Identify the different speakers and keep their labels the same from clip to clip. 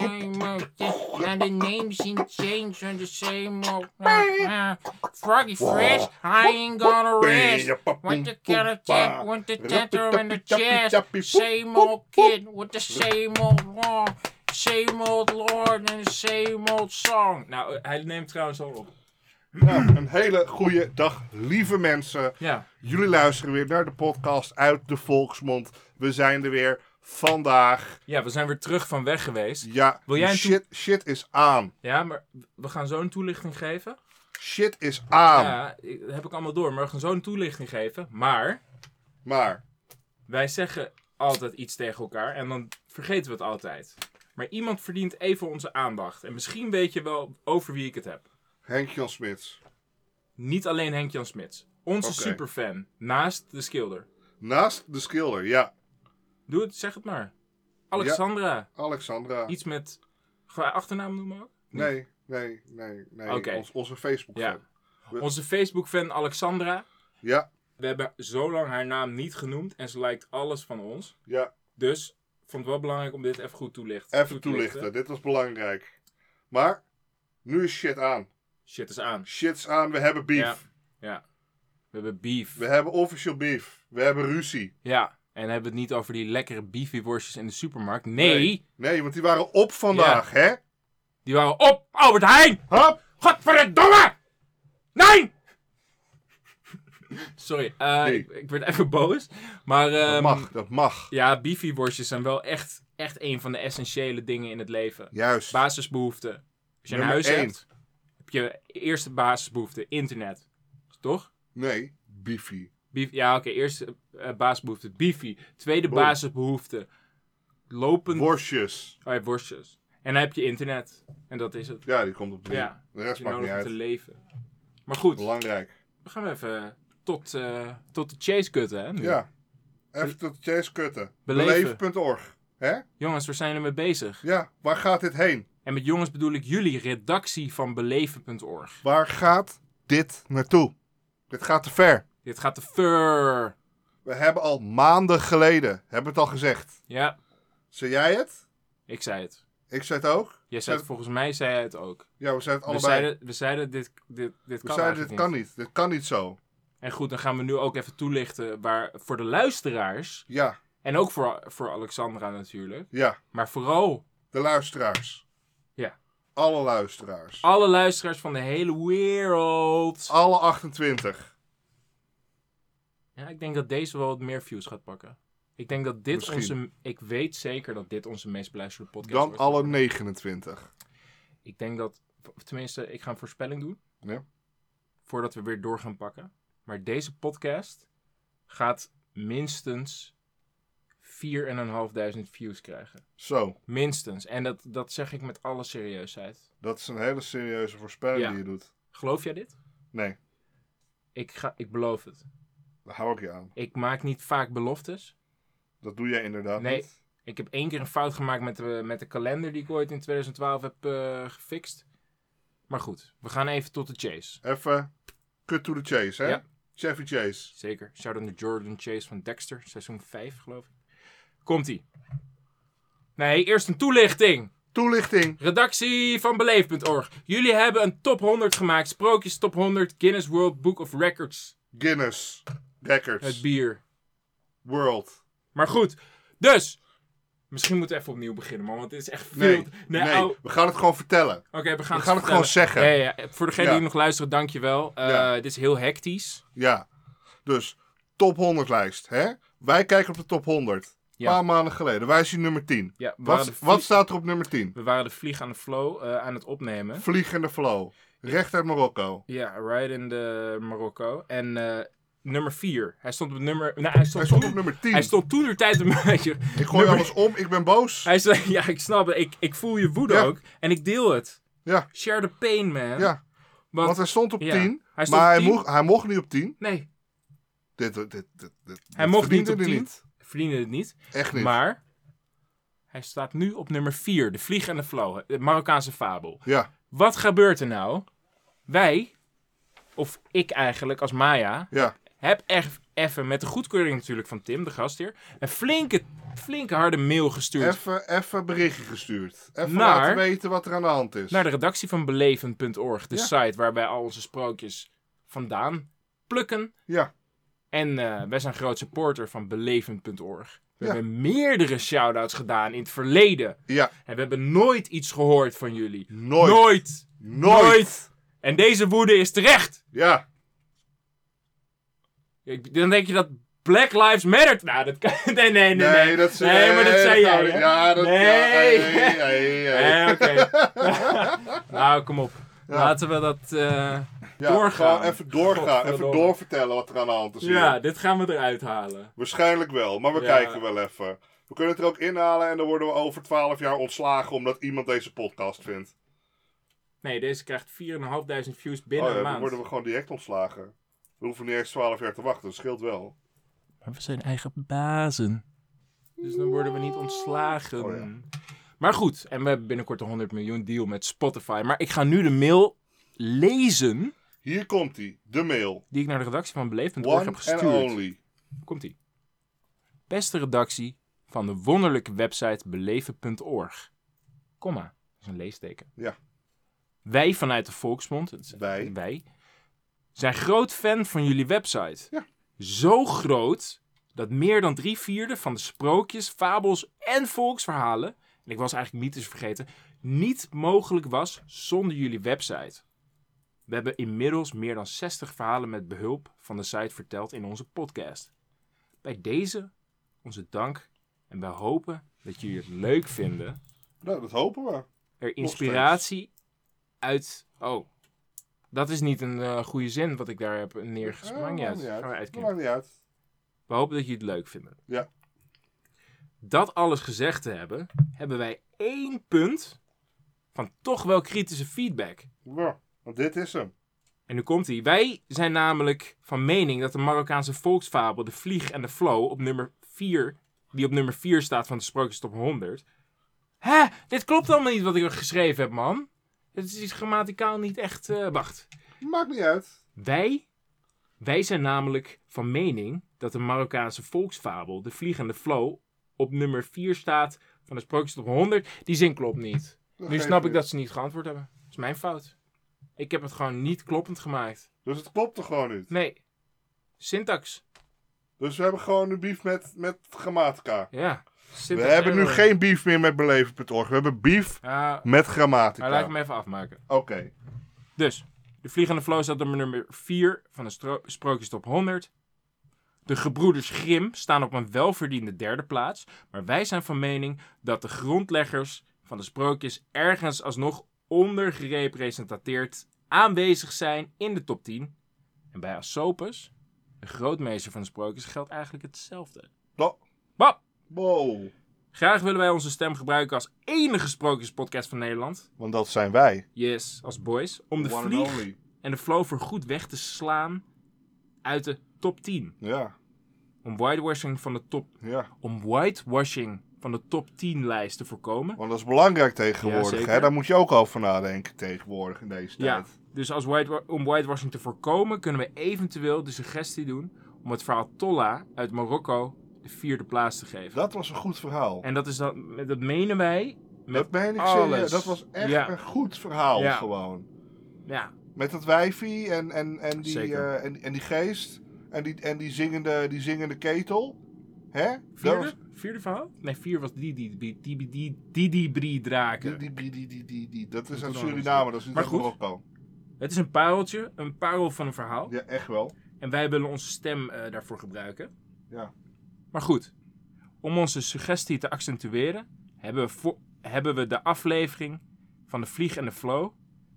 Speaker 1: same old thing. Now the names ain't changed on the same old uh, uh, Froggy Fresh, I ain't gonna rest. Want the counter tap, want the tantrum in the chest. Same old kid with the same old law. Same old lord and the same old song. Nou, hij neemt trouwens al op.
Speaker 2: Nou, een hele goede dag, lieve mensen.
Speaker 1: Ja,
Speaker 2: Jullie luisteren weer naar de podcast uit de Volksmond. We zijn er weer vandaag.
Speaker 1: ja we zijn weer terug van weg geweest.
Speaker 2: Ja,
Speaker 1: Wil jij een
Speaker 2: shit, shit is aan.
Speaker 1: Ja, maar we gaan zo'n toelichting geven.
Speaker 2: Shit is aan.
Speaker 1: Ja, ik- dat heb ik allemaal door. Maar we gaan zo'n toelichting geven. Maar
Speaker 2: Maar,
Speaker 1: wij zeggen altijd iets tegen elkaar en dan vergeten we het altijd. Maar iemand verdient even onze aandacht. En misschien weet je wel over wie ik het heb.
Speaker 2: Henk-Jan Smits.
Speaker 1: Niet alleen Henk-Jan Smits. Onze
Speaker 2: Oké.
Speaker 1: superfan. Naast de schilder.
Speaker 2: Naast de schilder, ja.
Speaker 1: Doe het, zeg het maar. Alexandra.
Speaker 2: Alexandra.
Speaker 1: Iets met... Ga je achternaam noemen ook?
Speaker 2: Nee, nee, nee, nee.
Speaker 1: Oké.
Speaker 2: Ons, onze Facebook.
Speaker 1: Ja.
Speaker 2: We-
Speaker 1: Onze Facebook-fan Alexandra.
Speaker 2: ja,
Speaker 1: We hebben zo lang haar naam niet genoemd. En ze lijkt alles van ons.
Speaker 2: ja.
Speaker 1: Dus vond het wel belangrijk om dit even goed toelicht,
Speaker 2: Even
Speaker 1: toe te
Speaker 2: toelichten, dit was belangrijk. Maar, nu is shit aan.
Speaker 1: Shit is aan.
Speaker 2: Shit is aan, we hebben beef.
Speaker 1: Ja. ja. We hebben beef.
Speaker 2: We hebben official beef. We hebben ruzie.
Speaker 1: Ja, en hebben we het niet over die lekkere beefy worstjes in de supermarkt. Nee,
Speaker 2: Nee, want die waren op vandaag, hè?
Speaker 1: die waren op Albert Heijn!
Speaker 2: Hop!
Speaker 1: Godverdomme! Nee! Sorry, eh,
Speaker 2: Nee.
Speaker 1: ik, ik werd even boos. Maar
Speaker 2: Dat
Speaker 1: ehm,
Speaker 2: mag, dat mag.
Speaker 1: ja, beefy worstjes zijn wel echt, echt een van de essentiële dingen in het leven.
Speaker 2: Juist.
Speaker 1: Basisbehoeften. Als je een
Speaker 2: Nummer
Speaker 1: huis
Speaker 2: één.
Speaker 1: hebt, heb je eerste basisbehoefte, internet. Toch?
Speaker 2: Nee, beefy.
Speaker 1: Beef- ja, oké, eerste eh, basisbehoefte, beefy. Tweede
Speaker 2: Boom.
Speaker 1: basisbehoefte, lopend
Speaker 2: Worstjes.
Speaker 1: Oh ja, worstjes. En dan heb je internet. En dat is het.
Speaker 2: Ja, die komt op drie.
Speaker 1: Ja.
Speaker 2: De
Speaker 1: Dat
Speaker 2: rest
Speaker 1: je
Speaker 2: maakt
Speaker 1: nodig
Speaker 2: niet
Speaker 1: hebt te
Speaker 2: uit.
Speaker 1: leven. Maar goed,
Speaker 2: Belangrijk.
Speaker 1: we gaan even tot, eh, tot de chase kutten, hè? nu.
Speaker 2: Ja. Even tot Chase kutten.
Speaker 1: Beleven.
Speaker 2: Beleven.org. Hè?
Speaker 1: Jongens, waar zijn jullie mee bezig?
Speaker 2: Ja, waar gaat dit heen?
Speaker 1: En met jongens bedoel ik jullie, redactie van beleven.org.
Speaker 2: Waar gaat dit naartoe? Dit gaat te ver.
Speaker 1: Dit gaat te fur.
Speaker 2: We hebben al maanden geleden, hebben het al gezegd.
Speaker 1: Ja,
Speaker 2: Zei jij het?
Speaker 1: ik zei het.
Speaker 2: Ik zei het ook.
Speaker 1: Jij zei het,
Speaker 2: Zei-
Speaker 1: volgens mij zei jij het ook.
Speaker 2: Ja, we zeiden het
Speaker 1: We
Speaker 2: allebei.
Speaker 1: zeiden, we zeiden dit, dit, dit
Speaker 2: we
Speaker 1: kan
Speaker 2: zeiden
Speaker 1: eigenlijk
Speaker 2: dit kan niet. Dit kan niet zo.
Speaker 1: En goed, dan gaan we nu ook even toelichten waar, voor de luisteraars...
Speaker 2: Ja,
Speaker 1: en ook voor, voor Alexandra natuurlijk...
Speaker 2: ja.
Speaker 1: maar vooral
Speaker 2: De luisteraars.
Speaker 1: Ja.
Speaker 2: Alle luisteraars.
Speaker 1: alle luisteraars van de hele wereld.
Speaker 2: Alle 28.
Speaker 1: Ja, ik denk dat deze wel wat meer views gaat pakken. Ik denk dat dit
Speaker 2: Misschien.
Speaker 1: onze... Ik weet zeker dat dit onze meest beluisterde podcast
Speaker 2: Dan
Speaker 1: wordt.
Speaker 2: alle 29.
Speaker 1: Ik denk dat... of Tenminste, ik ga een voorspelling doen.
Speaker 2: Ja.
Speaker 1: Voordat we weer door gaan pakken. Maar deze podcast gaat minstens 4.500 views krijgen.
Speaker 2: Zo,
Speaker 1: Minstens. En dat, dat zeg ik met alle serieusheid.
Speaker 2: dat is een hele serieuze voorspelling
Speaker 1: Ja.
Speaker 2: die je doet.
Speaker 1: Geloof jij dit?
Speaker 2: Nee,
Speaker 1: Ik, ga, ik beloof het.
Speaker 2: daar hou ik je aan.
Speaker 1: Ik maak niet vaak beloftes.
Speaker 2: Dat doe jij inderdaad
Speaker 1: Nee.
Speaker 2: niet.
Speaker 1: Ik heb één keer een fout gemaakt met de, met de kalender die ik ooit in 2012 heb eh, gefixt. Maar goed, we gaan even tot de chase.
Speaker 2: Even cut to the chase, hè?
Speaker 1: Ja.
Speaker 2: Chevy Chase.
Speaker 1: Zeker. Shout-out naar Jordan Chase van Dexter, seizoen 5 geloof ik. Komt-ie. Nee, eerst een toelichting.
Speaker 2: Toelichting.
Speaker 1: Redactie van Beleef.org. Jullie hebben een top 100 gemaakt. Sprookjes top 100 Guinness World Book of Records.
Speaker 2: Guinness.
Speaker 1: Het
Speaker 2: Records.
Speaker 1: bier.
Speaker 2: World.
Speaker 1: Maar goed, dus. Misschien moeten we even opnieuw beginnen, man. Want dit is echt veel.
Speaker 2: Nee,
Speaker 1: nee,
Speaker 2: nee,
Speaker 1: au.
Speaker 2: we gaan het gewoon vertellen.
Speaker 1: Oké, we gaan,
Speaker 2: We gaan het gewoon zeggen.
Speaker 1: Ja, ja, ja. Voor degenen die
Speaker 2: Ja.
Speaker 1: nog luisteren, dankjewel. Eh
Speaker 2: Ja.
Speaker 1: Dit is heel hectisch.
Speaker 2: Ja. Dus, top 100 lijst, hè? Wij kijken op de top 100. Een
Speaker 1: Ja.
Speaker 2: paar maanden geleden. Wij zien nummer 10.
Speaker 1: Ja, we, waren de
Speaker 2: Wat,
Speaker 1: vlie-
Speaker 2: wat staat er op nummer 10?
Speaker 1: we waren de vlieg aan de flow eh, aan het opnemen.
Speaker 2: Vliegende flow. Recht uit Marokko.
Speaker 1: Ja, right in de Marokko. En eh, nummer 4. Hij stond op nummer... Nou, hij stond,
Speaker 2: Hij stond
Speaker 1: toen-
Speaker 2: op nummer 10.
Speaker 1: Hij stond toen de tijd een beetje...
Speaker 2: Ik gooi
Speaker 1: nummer-
Speaker 2: alles om, ik ben boos.
Speaker 1: Hij zei, ja, ik snap het. Ik, ik voel je woede
Speaker 2: Ja.
Speaker 1: ook. En ik deel het.
Speaker 2: Ja.
Speaker 1: Share the pain, man.
Speaker 2: Ja,
Speaker 1: Want,
Speaker 2: want hij stond op
Speaker 1: ja,
Speaker 2: 10,
Speaker 1: hij stond
Speaker 2: maar
Speaker 1: op
Speaker 2: hij,
Speaker 1: 10.
Speaker 2: Mocht, hij mocht niet op 10.
Speaker 1: Nee,
Speaker 2: Dit, dit, dit, dit, dit
Speaker 1: hij mocht niet
Speaker 2: verdiende
Speaker 1: op
Speaker 2: hij
Speaker 1: 10. Verdiende het niet.
Speaker 2: Echt niet.
Speaker 1: Maar hij staat nu op nummer 4. De vlieg en de flow. De Marokkaanse fabel.
Speaker 2: Ja,
Speaker 1: Wat gebeurt er nou? Wij, of ik eigenlijk als Maya,
Speaker 2: ja,
Speaker 1: heb echt, even, met de goedkeuring natuurlijk van Tim, de gastheer, een flinke, flinke harde mail gestuurd
Speaker 2: Even, even berichtje gestuurd. Even
Speaker 1: Naar-
Speaker 2: laten weten wat er aan de hand is.
Speaker 1: naar de redactie van belevend.org, de
Speaker 2: Ja.
Speaker 1: site waar wij al onze sprookjes vandaan plukken.
Speaker 2: Ja,
Speaker 1: En eh, wij zijn groot supporter van belevend.org. We
Speaker 2: Ja.
Speaker 1: hebben meerdere shout-outs gedaan in het verleden.
Speaker 2: ja.
Speaker 1: En we hebben nooit iets gehoord van jullie.
Speaker 2: Nooit.
Speaker 1: Nooit.
Speaker 2: Nooit.
Speaker 1: Nooit. En deze woede is terecht.
Speaker 2: Ja.
Speaker 1: Ik- Dan denk je dat Black Lives Matter... Nou, dat kan... Nee, nee, nee. Nee,
Speaker 2: dat is-
Speaker 1: Nee, maar dat zei jij,
Speaker 2: gaan we niet-
Speaker 1: hè?
Speaker 2: Ja, dat...
Speaker 1: Nee. Eh,
Speaker 2: Ja, hey, hey, hey.
Speaker 1: Nee, oké. nou, kom op. Laten we dat... eh,
Speaker 2: Ja,
Speaker 1: Doorgaan.
Speaker 2: gewoon even doorgaan. Even
Speaker 1: Godverdomme.
Speaker 2: doorvertellen wat er aan de hand is. hier.
Speaker 1: Ja, dit gaan we eruit halen.
Speaker 2: Waarschijnlijk wel, maar we
Speaker 1: Ja.
Speaker 2: kijken wel even. We kunnen het er ook inhalen en dan worden we over 12 jaar ontslagen omdat iemand deze podcast vindt.
Speaker 1: Nee, deze krijgt 4.500 views
Speaker 2: Oh
Speaker 1: binnen
Speaker 2: ja,
Speaker 1: een
Speaker 2: dan
Speaker 1: maand.
Speaker 2: worden we gewoon direct ontslagen. We hoeven niet eens 12 jaar te wachten, dat scheelt wel.
Speaker 1: Maar we zijn eigen bazen. Dus dan worden we niet ontslagen.
Speaker 2: Oh ja.
Speaker 1: Maar goed, en we hebben binnenkort een 100 miljoen deal met Spotify. Maar ik ga nu de mail lezen
Speaker 2: Hier komt hij, de mail.
Speaker 1: die ik naar de redactie van Beleefd.org
Speaker 2: One
Speaker 1: heb
Speaker 2: and
Speaker 1: gestuurd.
Speaker 2: only.
Speaker 1: Komt-ie. Beste redactie van de wonderlijke website beleven.org. Komma, dat is een leesteken.
Speaker 2: Ja.
Speaker 1: Wij vanuit de Volksmond, het is-
Speaker 2: Wij.
Speaker 1: zijn groot fan van jullie website.
Speaker 2: Ja.
Speaker 1: Zo groot dat meer dan drie vierde van de sprookjes, fabels en volksverhalen, en ik was eigenlijk mythes vergeten, niet mogelijk was zonder jullie website. We hebben inmiddels meer dan 60 verhalen met behulp van de site verteld in onze podcast. Bij deze onze dank en wij hopen dat jullie het leuk vinden
Speaker 2: Nou, dat hopen we.
Speaker 1: er
Speaker 2: Nog steeds.
Speaker 1: inspiratie uit. Oh, dat is niet een eh, goede zin wat ik daar heb neergeschreven. Maakt
Speaker 2: Eh,
Speaker 1: niet uit.
Speaker 2: maakt
Speaker 1: Gaan we uitknippen.
Speaker 2: Maakt niet uit.
Speaker 1: We hopen dat jullie het leuk vinden.
Speaker 2: Ja.
Speaker 1: Dat alles gezegd te hebben, hebben wij één punt van toch wel kritische feedback.
Speaker 2: Ja, want dit is hem.
Speaker 1: En nu komt hij. Wij zijn namelijk van mening dat de Marokkaanse volksfabel De Vlieg en de Flow op nummer 4, die op nummer 4 staat van de Sprookjes Top 100. Hè? Dit klopt allemaal niet wat ik geschreven heb, man. Het is grammaticaal niet echt. eh, wacht.
Speaker 2: Maakt niet uit.
Speaker 1: Wij, wij zijn namelijk van mening dat de Marokkaanse volksfabel De Vlieg en de Flow op nummer 4 staat van de Sprookjes Top 100. Die zin klopt niet.
Speaker 2: Dat
Speaker 1: Nu
Speaker 2: geeft
Speaker 1: snap ik
Speaker 2: niet.
Speaker 1: dat ze niet geantwoord hebben. Dat is mijn fout. Ik heb het gewoon niet kloppend gemaakt.
Speaker 2: Dus het klopt er gewoon niet.
Speaker 1: Nee. Syntax.
Speaker 2: Dus we hebben gewoon een beef met, met grammatica.
Speaker 1: Ja.
Speaker 2: We
Speaker 1: Syntax
Speaker 2: hebben nu
Speaker 1: error.
Speaker 2: geen beef meer met beleven.org. We hebben beef
Speaker 1: Ah,
Speaker 2: met
Speaker 1: maar laat
Speaker 2: grammatica.
Speaker 1: ik hem even afmaken.
Speaker 2: Oké.
Speaker 1: Dus. De Vliegende Flow staat op nummer 4 van de stro- Sprookjes Top 100. De Gebroeders Grimm staan op een welverdiende derde plaats. Maar wij zijn van mening dat de grondleggers van de sprookjes ergens alsnog ondergerepresenteerd aanwezig zijn in de top 10. En bij Asopus, de grootmeester van de sprookjes, geldt eigenlijk hetzelfde.
Speaker 2: Da-
Speaker 1: Bap!
Speaker 2: Wow.
Speaker 1: Graag willen wij onze stem gebruiken als enige sprookjespodcast van Nederland.
Speaker 2: Want dat zijn wij.
Speaker 1: Yes, als boys. Om de
Speaker 2: One and
Speaker 1: vlieg
Speaker 2: only.
Speaker 1: en de flow voor goed weg te slaan uit de top 10.
Speaker 2: Ja,
Speaker 1: Om whitewashing van de top,
Speaker 2: ja.
Speaker 1: om whitewashing van de top 10 lijst te voorkomen.
Speaker 2: Want dat is belangrijk
Speaker 1: Ja,
Speaker 2: tegenwoordig.
Speaker 1: zeker.
Speaker 2: hè? Daar moet je ook over nadenken tegenwoordig in deze
Speaker 1: Ja,
Speaker 2: tijd.
Speaker 1: dus als whitewa- om whitewashing te voorkomen kunnen we eventueel de suggestie doen om het verhaal Tolla uit Marokko de vierde plaats te geven.
Speaker 2: Dat was een goed verhaal.
Speaker 1: En dat, is dat, dat menen wij met
Speaker 2: dat meen ik serieus.
Speaker 1: alles.
Speaker 2: Dat was echt
Speaker 1: Ja.
Speaker 2: een goed verhaal
Speaker 1: Ja.
Speaker 2: gewoon.
Speaker 1: Ja,
Speaker 2: Met dat wijfie en, en, en, die,
Speaker 1: Zeker.
Speaker 2: eh, en, en die geest. En die, en die, zingende, die zingende ketel. Hè? Dat
Speaker 1: Vierde?
Speaker 2: was-
Speaker 1: Vierde verhaal? Nee, vier was die die die die die die die drie
Speaker 2: Die,
Speaker 1: draken.
Speaker 2: die, die, die, die, die, die. Dat is
Speaker 1: Moet
Speaker 2: uit
Speaker 1: er nog
Speaker 2: Suriname, dat is niet
Speaker 1: Maar
Speaker 2: uit
Speaker 1: goed.
Speaker 2: Marokko.
Speaker 1: Het is een pareltje, een parel van een verhaal.
Speaker 2: Ja, echt wel.
Speaker 1: En wij willen onze stem eh, daarvoor gebruiken.
Speaker 2: Ja.
Speaker 1: Maar goed, om onze suggestie te accentueren, hebben we, vo- hebben we de aflevering van de Vlieg en de Flow,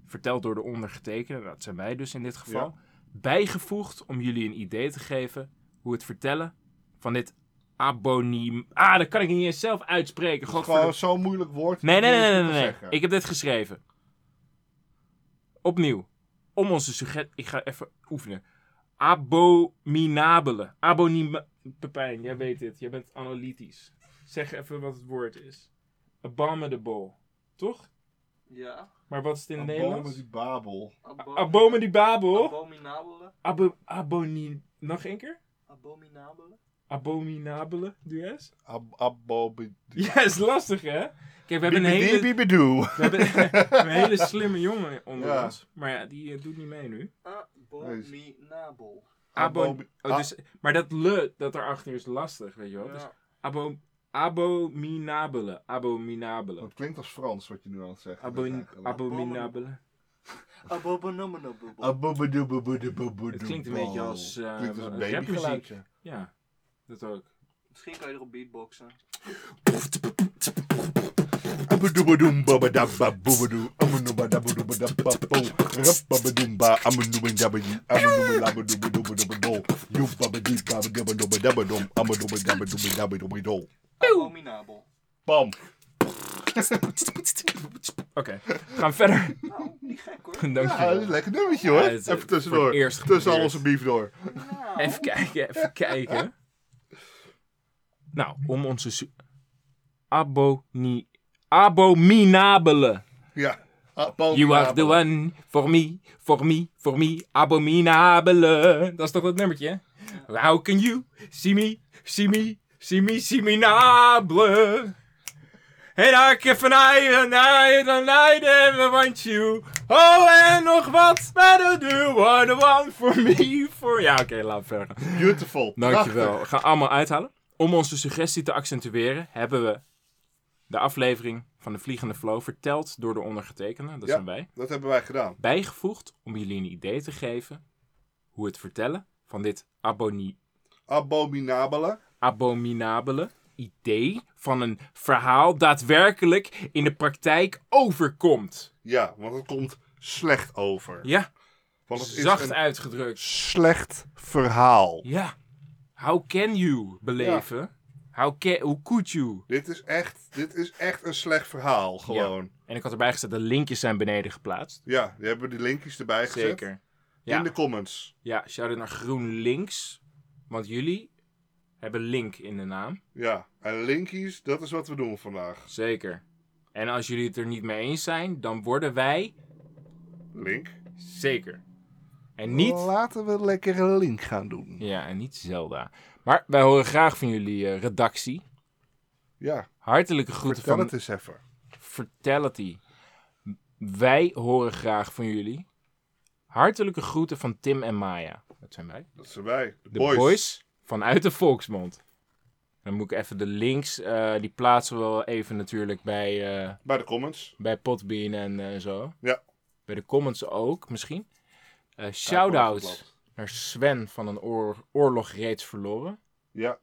Speaker 1: verteld door de ondergetekende, dat zijn wij dus in dit geval, bijgevoegd om jullie een idee te geven hoe het vertellen van dit aboniem... Ah, dat kan ik niet eens zelf uitspreken.
Speaker 2: Het is
Speaker 1: godverdomme.
Speaker 2: gewoon zo'n moeilijk woord.
Speaker 1: Nee, nee,
Speaker 2: Niet
Speaker 1: nee,
Speaker 2: te
Speaker 1: nee, nee, nee.
Speaker 2: zeggen.
Speaker 1: Ik heb dit geschreven. Opnieuw. Om onze suggestie. Ik ga even oefenen. Abominabele. Abonim. Pepijn, jij weet dit. Jij bent analytisch. Zeg even wat het woord is. Abominable. Toch?
Speaker 3: Ja.
Speaker 1: Maar wat is het in het
Speaker 2: Bomen
Speaker 1: Nederlands?
Speaker 2: die Babel.
Speaker 3: Abo
Speaker 1: Abominabel.
Speaker 3: abominabele.
Speaker 1: Abo aboni. Nog één keer?
Speaker 3: Abominabele.
Speaker 1: Abominabele duets?
Speaker 2: Ab, abobi-
Speaker 1: Ja, is lastig hè? Kijk, we hebben een hele, we
Speaker 2: Bibidibibidoe.
Speaker 1: hebben een hele slimme jongen onder
Speaker 2: Ja.
Speaker 1: ons. Maar ja, die eh, doet niet mee nu.
Speaker 3: Abominabel.
Speaker 1: Abo
Speaker 2: Abomi-
Speaker 1: oh, dus, maar dat le dat erachter is lastig, weet je wel. Dus
Speaker 3: Ja.
Speaker 1: abo abominabele. Abominabele.
Speaker 2: Dat klinkt als Frans wat je nu aan het zeggen
Speaker 1: Abon
Speaker 2: bent.
Speaker 1: abominabele.
Speaker 3: Abominabel.
Speaker 2: Abobidoebobobobobobo.
Speaker 1: Het klinkt een beetje als, eh,
Speaker 2: Klinkt als een
Speaker 1: een rapmuziek.
Speaker 2: babygeluidje.
Speaker 1: Ja, dat ook.
Speaker 3: Misschien kan je erop beatboxen.
Speaker 2: Abodobodoembobodababobodoe, amonobadabodobodababo, rapabadumba, amenoemendabadi, amenoemelabodobodobodobodo, joepabadiepabadabadobadabadom, amenoemendabadobadabadobado.
Speaker 3: Abominabel.
Speaker 2: Bam.
Speaker 1: Oké, we gaan verder.
Speaker 3: Nou, niet gek hoor.
Speaker 1: Dankjewel.
Speaker 2: Ja, dat is een lekker nummertje
Speaker 1: Ja,
Speaker 2: hoor.
Speaker 1: het is, eh,
Speaker 2: Even
Speaker 1: voor
Speaker 2: tussendoor.
Speaker 1: het eerst
Speaker 2: Tussen al
Speaker 1: geprobeerd.
Speaker 2: onze beef door.
Speaker 3: Nou.
Speaker 1: Even kijken, even kijken. Nou, om onze... su- Aboni... Abominabele.
Speaker 2: Ja.
Speaker 1: You are the one for me, for me, for me. Abominabele. Dat is toch dat nummertje, hè? How can you see me, see me, see me, see me nabele? En ik heb van eigen eigen lijden, want you. Oh, en nog wat, maar you are the one for me, for... Ja, oké, laat verder gaan.
Speaker 2: Beautiful.
Speaker 1: Dankjewel. We gaan allemaal uithalen. Om onze suggestie te accentueren, hebben we de aflevering van de Vliegende Flow verteld door de ondergetekende, dat
Speaker 2: Ja.
Speaker 1: zijn wij,
Speaker 2: Dat hebben wij gedaan.
Speaker 1: bijgevoegd om jullie een idee te geven hoe het vertellen van dit aboni-
Speaker 2: Abominabele.
Speaker 1: abominabele idee van een verhaal daadwerkelijk in de praktijk overkomt.
Speaker 2: Ja, want het komt slecht over.
Speaker 1: Ja,
Speaker 2: Want het is
Speaker 1: zacht
Speaker 2: een
Speaker 1: uitgedrukt.
Speaker 2: slecht verhaal.
Speaker 1: Ja, how can you beleven? How, can, how could you?
Speaker 2: Dit is echt, dit is echt een slecht verhaal, gewoon.
Speaker 1: En ik had erbij gezet, de linkjes zijn beneden geplaatst.
Speaker 2: Ja, die hebben we die linkjes erbij gezet.
Speaker 1: Zeker. Ja,
Speaker 2: In de comments.
Speaker 1: ja shout-out naar GroenLinks. Want jullie hebben link in de naam.
Speaker 2: Ja, en linkies, dat is wat we doen vandaag.
Speaker 1: Zeker. En als jullie het er niet mee eens zijn, dan worden wij
Speaker 2: Link.
Speaker 1: zeker. En niet...
Speaker 2: Laten we lekker een link gaan doen.
Speaker 1: Ja, en niet Zelda. Maar wij horen graag van jullie eh, redactie.
Speaker 2: Ja,
Speaker 1: Hartelijke groeten
Speaker 2: vertel
Speaker 1: van
Speaker 2: het eens even.
Speaker 1: Fertility. Wij horen graag van jullie. Hartelijke groeten van Tim en Maya. Dat zijn wij.
Speaker 2: Dat zijn wij, de,
Speaker 1: De
Speaker 2: boys.
Speaker 1: boys. vanuit de Volksmond. Dan moet ik even de links, eh, die plaatsen we wel even natuurlijk bij, eh
Speaker 2: Bij de comments.
Speaker 1: bij Potbean en eh, zo.
Speaker 2: Ja.
Speaker 1: Bij de comments ook misschien. Eh
Speaker 2: Ja,
Speaker 1: Shout-out
Speaker 2: klopt.
Speaker 1: naar Sven van een oor- oorlog reeds verloren.
Speaker 2: Ja,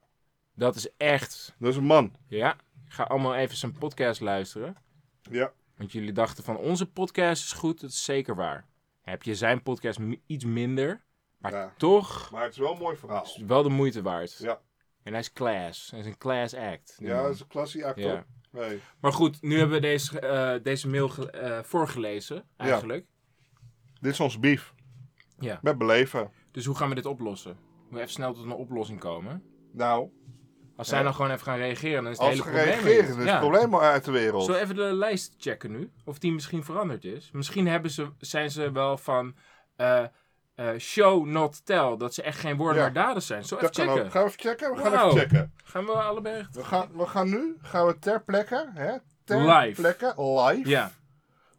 Speaker 1: Dat is echt,
Speaker 2: dat is een man.
Speaker 1: ja. Ga allemaal even zijn podcast luisteren.
Speaker 2: Ja,
Speaker 1: Want jullie dachten van onze podcast is goed, dat is zeker waar. Heb je zijn podcast mi- iets minder, maar
Speaker 2: Ja.
Speaker 1: toch
Speaker 2: maar het is wel een mooi verhaal.
Speaker 1: is het wel de moeite waard.
Speaker 2: Ja.
Speaker 1: En hij is class. Hij is een class act. die
Speaker 2: Ja,
Speaker 1: man.
Speaker 2: dat is een klassie act,
Speaker 1: Ja.
Speaker 2: hoor. Hey.
Speaker 1: Maar goed, nu hebben we deze, eh, deze mail ge- eh, voorgelezen, eigenlijk.
Speaker 2: Dit is ons beef.
Speaker 1: Ja.
Speaker 2: Met beleven.
Speaker 1: Dus hoe gaan we dit oplossen? We moeten even snel tot een oplossing komen.
Speaker 2: Nou,
Speaker 1: Als zij dan gewoon even gaan reageren, dan is het
Speaker 2: als
Speaker 1: hele
Speaker 2: we
Speaker 1: probleem
Speaker 2: reageren,
Speaker 1: niet.
Speaker 2: is het
Speaker 1: Ja.
Speaker 2: probleem al uit de wereld.
Speaker 1: Zullen we even de lijst checken nu? Of die misschien veranderd is? Misschien hebben ze, zijn ze wel van eh, eh, show, not tell. Dat ze echt geen woorden
Speaker 2: Ja.
Speaker 1: maar daden zijn. Zo even
Speaker 2: Dat kan ook.
Speaker 1: checken.
Speaker 2: Gaan we even checken? We gaan
Speaker 1: Wauw.
Speaker 2: even checken.
Speaker 1: Gaan we allebei...
Speaker 2: We gaan, we gaan nu, gaan we ter plekke, hè? Ter
Speaker 1: Live.
Speaker 2: plekke, live.
Speaker 1: Ja,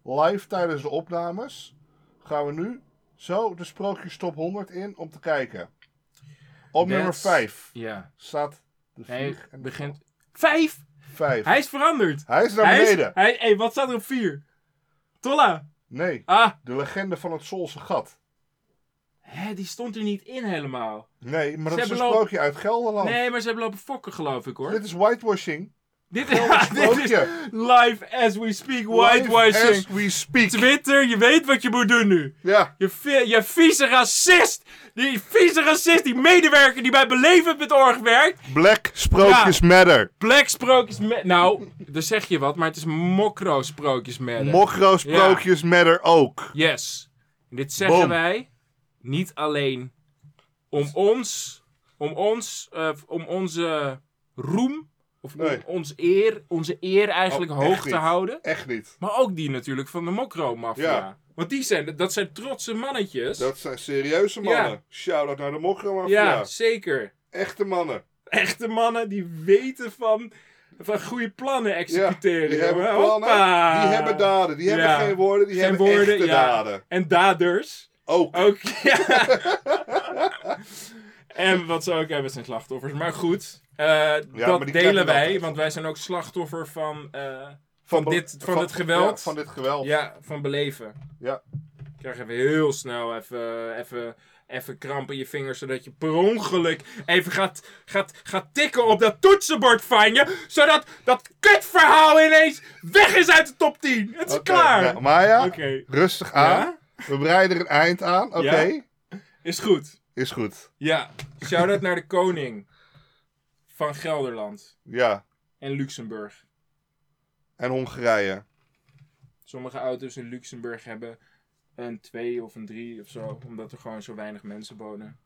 Speaker 2: Live tijdens de opnames. Gaan we nu zo de sprookjes top 100 in om te kijken. Op nummer
Speaker 1: That's-
Speaker 2: 5
Speaker 1: ja.
Speaker 2: staat de
Speaker 1: Hij
Speaker 2: vlieg en de
Speaker 1: begint... Vijf!
Speaker 2: 5.
Speaker 1: Hij is veranderd!
Speaker 2: Hij is naar
Speaker 1: Hij is-
Speaker 2: beneden.
Speaker 1: hij- hey, wat staat er op vier? Tolla!
Speaker 2: Nee,
Speaker 1: Ah,
Speaker 2: de legende van het Solse gat.
Speaker 1: hè, die stond er niet in helemaal.
Speaker 2: Nee, maar
Speaker 1: Ze
Speaker 2: dat is
Speaker 1: hebben
Speaker 2: een
Speaker 1: lopen-
Speaker 2: sprookje uit Gelderland.
Speaker 1: Nee, maar ze hebben lopen fokken, geloof ik, hoor.
Speaker 2: Dit is whitewashing.
Speaker 1: Dit is, dit is
Speaker 2: sprookje.
Speaker 1: live as we speak,
Speaker 2: Live
Speaker 1: whitewashing.
Speaker 2: As we speak.
Speaker 1: Twitter, je weet wat je moet doen nu.
Speaker 2: Ja,
Speaker 1: Je, vi- je vieze racist! Die vieze racist, die medewerker die bij Beleven.org werkt.
Speaker 2: black sprookjes matter.
Speaker 1: Black sprookjes met... Nou, daar zeg je wat, maar het is mokro sprookjes met...
Speaker 2: Mokro sprookjes matter ook.
Speaker 1: Yes. En dit zeggen
Speaker 2: Boom.
Speaker 1: wij niet alleen om ons, om ons, eh, om onze roem, of om
Speaker 2: Nee.
Speaker 1: ons eer, onze eer eigenlijk
Speaker 2: Oh, echt
Speaker 1: hoog te
Speaker 2: niet.
Speaker 1: houden.
Speaker 2: Echt niet.
Speaker 1: Maar ook die natuurlijk van de mokro-maffia.
Speaker 2: Ja.
Speaker 1: Want die zijn, dat zijn trotse mannetjes.
Speaker 2: Dat zijn serieuze mannen.
Speaker 1: Ja.
Speaker 2: Shout-out naar de Mokro
Speaker 1: ja,
Speaker 2: Mafia.
Speaker 1: zeker.
Speaker 2: Echte mannen.
Speaker 1: Echte mannen die weten van, van goede plannen executeren.
Speaker 2: die hebben
Speaker 1: jongen.
Speaker 2: plannen,
Speaker 1: Hoppa.
Speaker 2: die hebben daden. Die
Speaker 1: Ja.
Speaker 2: hebben geen woorden, die
Speaker 1: Geen
Speaker 2: hebben
Speaker 1: woorden,
Speaker 2: echte
Speaker 1: ja.
Speaker 2: daden.
Speaker 1: En daders.
Speaker 2: Ook.
Speaker 1: Ook, ja. en wat ze ook hebben zijn slachtoffers. Maar goed, eh,
Speaker 2: maar
Speaker 1: dat delen
Speaker 2: die krijgen we
Speaker 1: wij.
Speaker 2: altijd.
Speaker 1: Want wij zijn ook slachtoffer van, eh, van, dit, van, dit
Speaker 2: ja,
Speaker 1: geweld.
Speaker 2: van dit geweld.
Speaker 1: Ja, van beleven.
Speaker 2: Ja.
Speaker 1: Krijgen we heel snel even, even, even kramp in je vingers, zodat je per ongeluk even gaat, gaat, gaat tikken op dat toetsenbord van je, zodat dat kutverhaal ineens weg is uit de top 10. Het is
Speaker 2: Oké,
Speaker 1: klaar.
Speaker 2: ja, Ah? Maya,
Speaker 1: Oké.
Speaker 2: rustig aan.
Speaker 1: Ja?
Speaker 2: We breiden er een eind aan. Oké,
Speaker 1: Is goed.
Speaker 2: is goed.
Speaker 1: Ja. Shout-out naar de koning van Gelderland
Speaker 2: Ja,
Speaker 1: en Luxemburg.
Speaker 2: en Hongarije.
Speaker 1: Sommige auto's in Luxemburg hebben een 2 of een 3 of zo, omdat er gewoon zo weinig mensen wonen.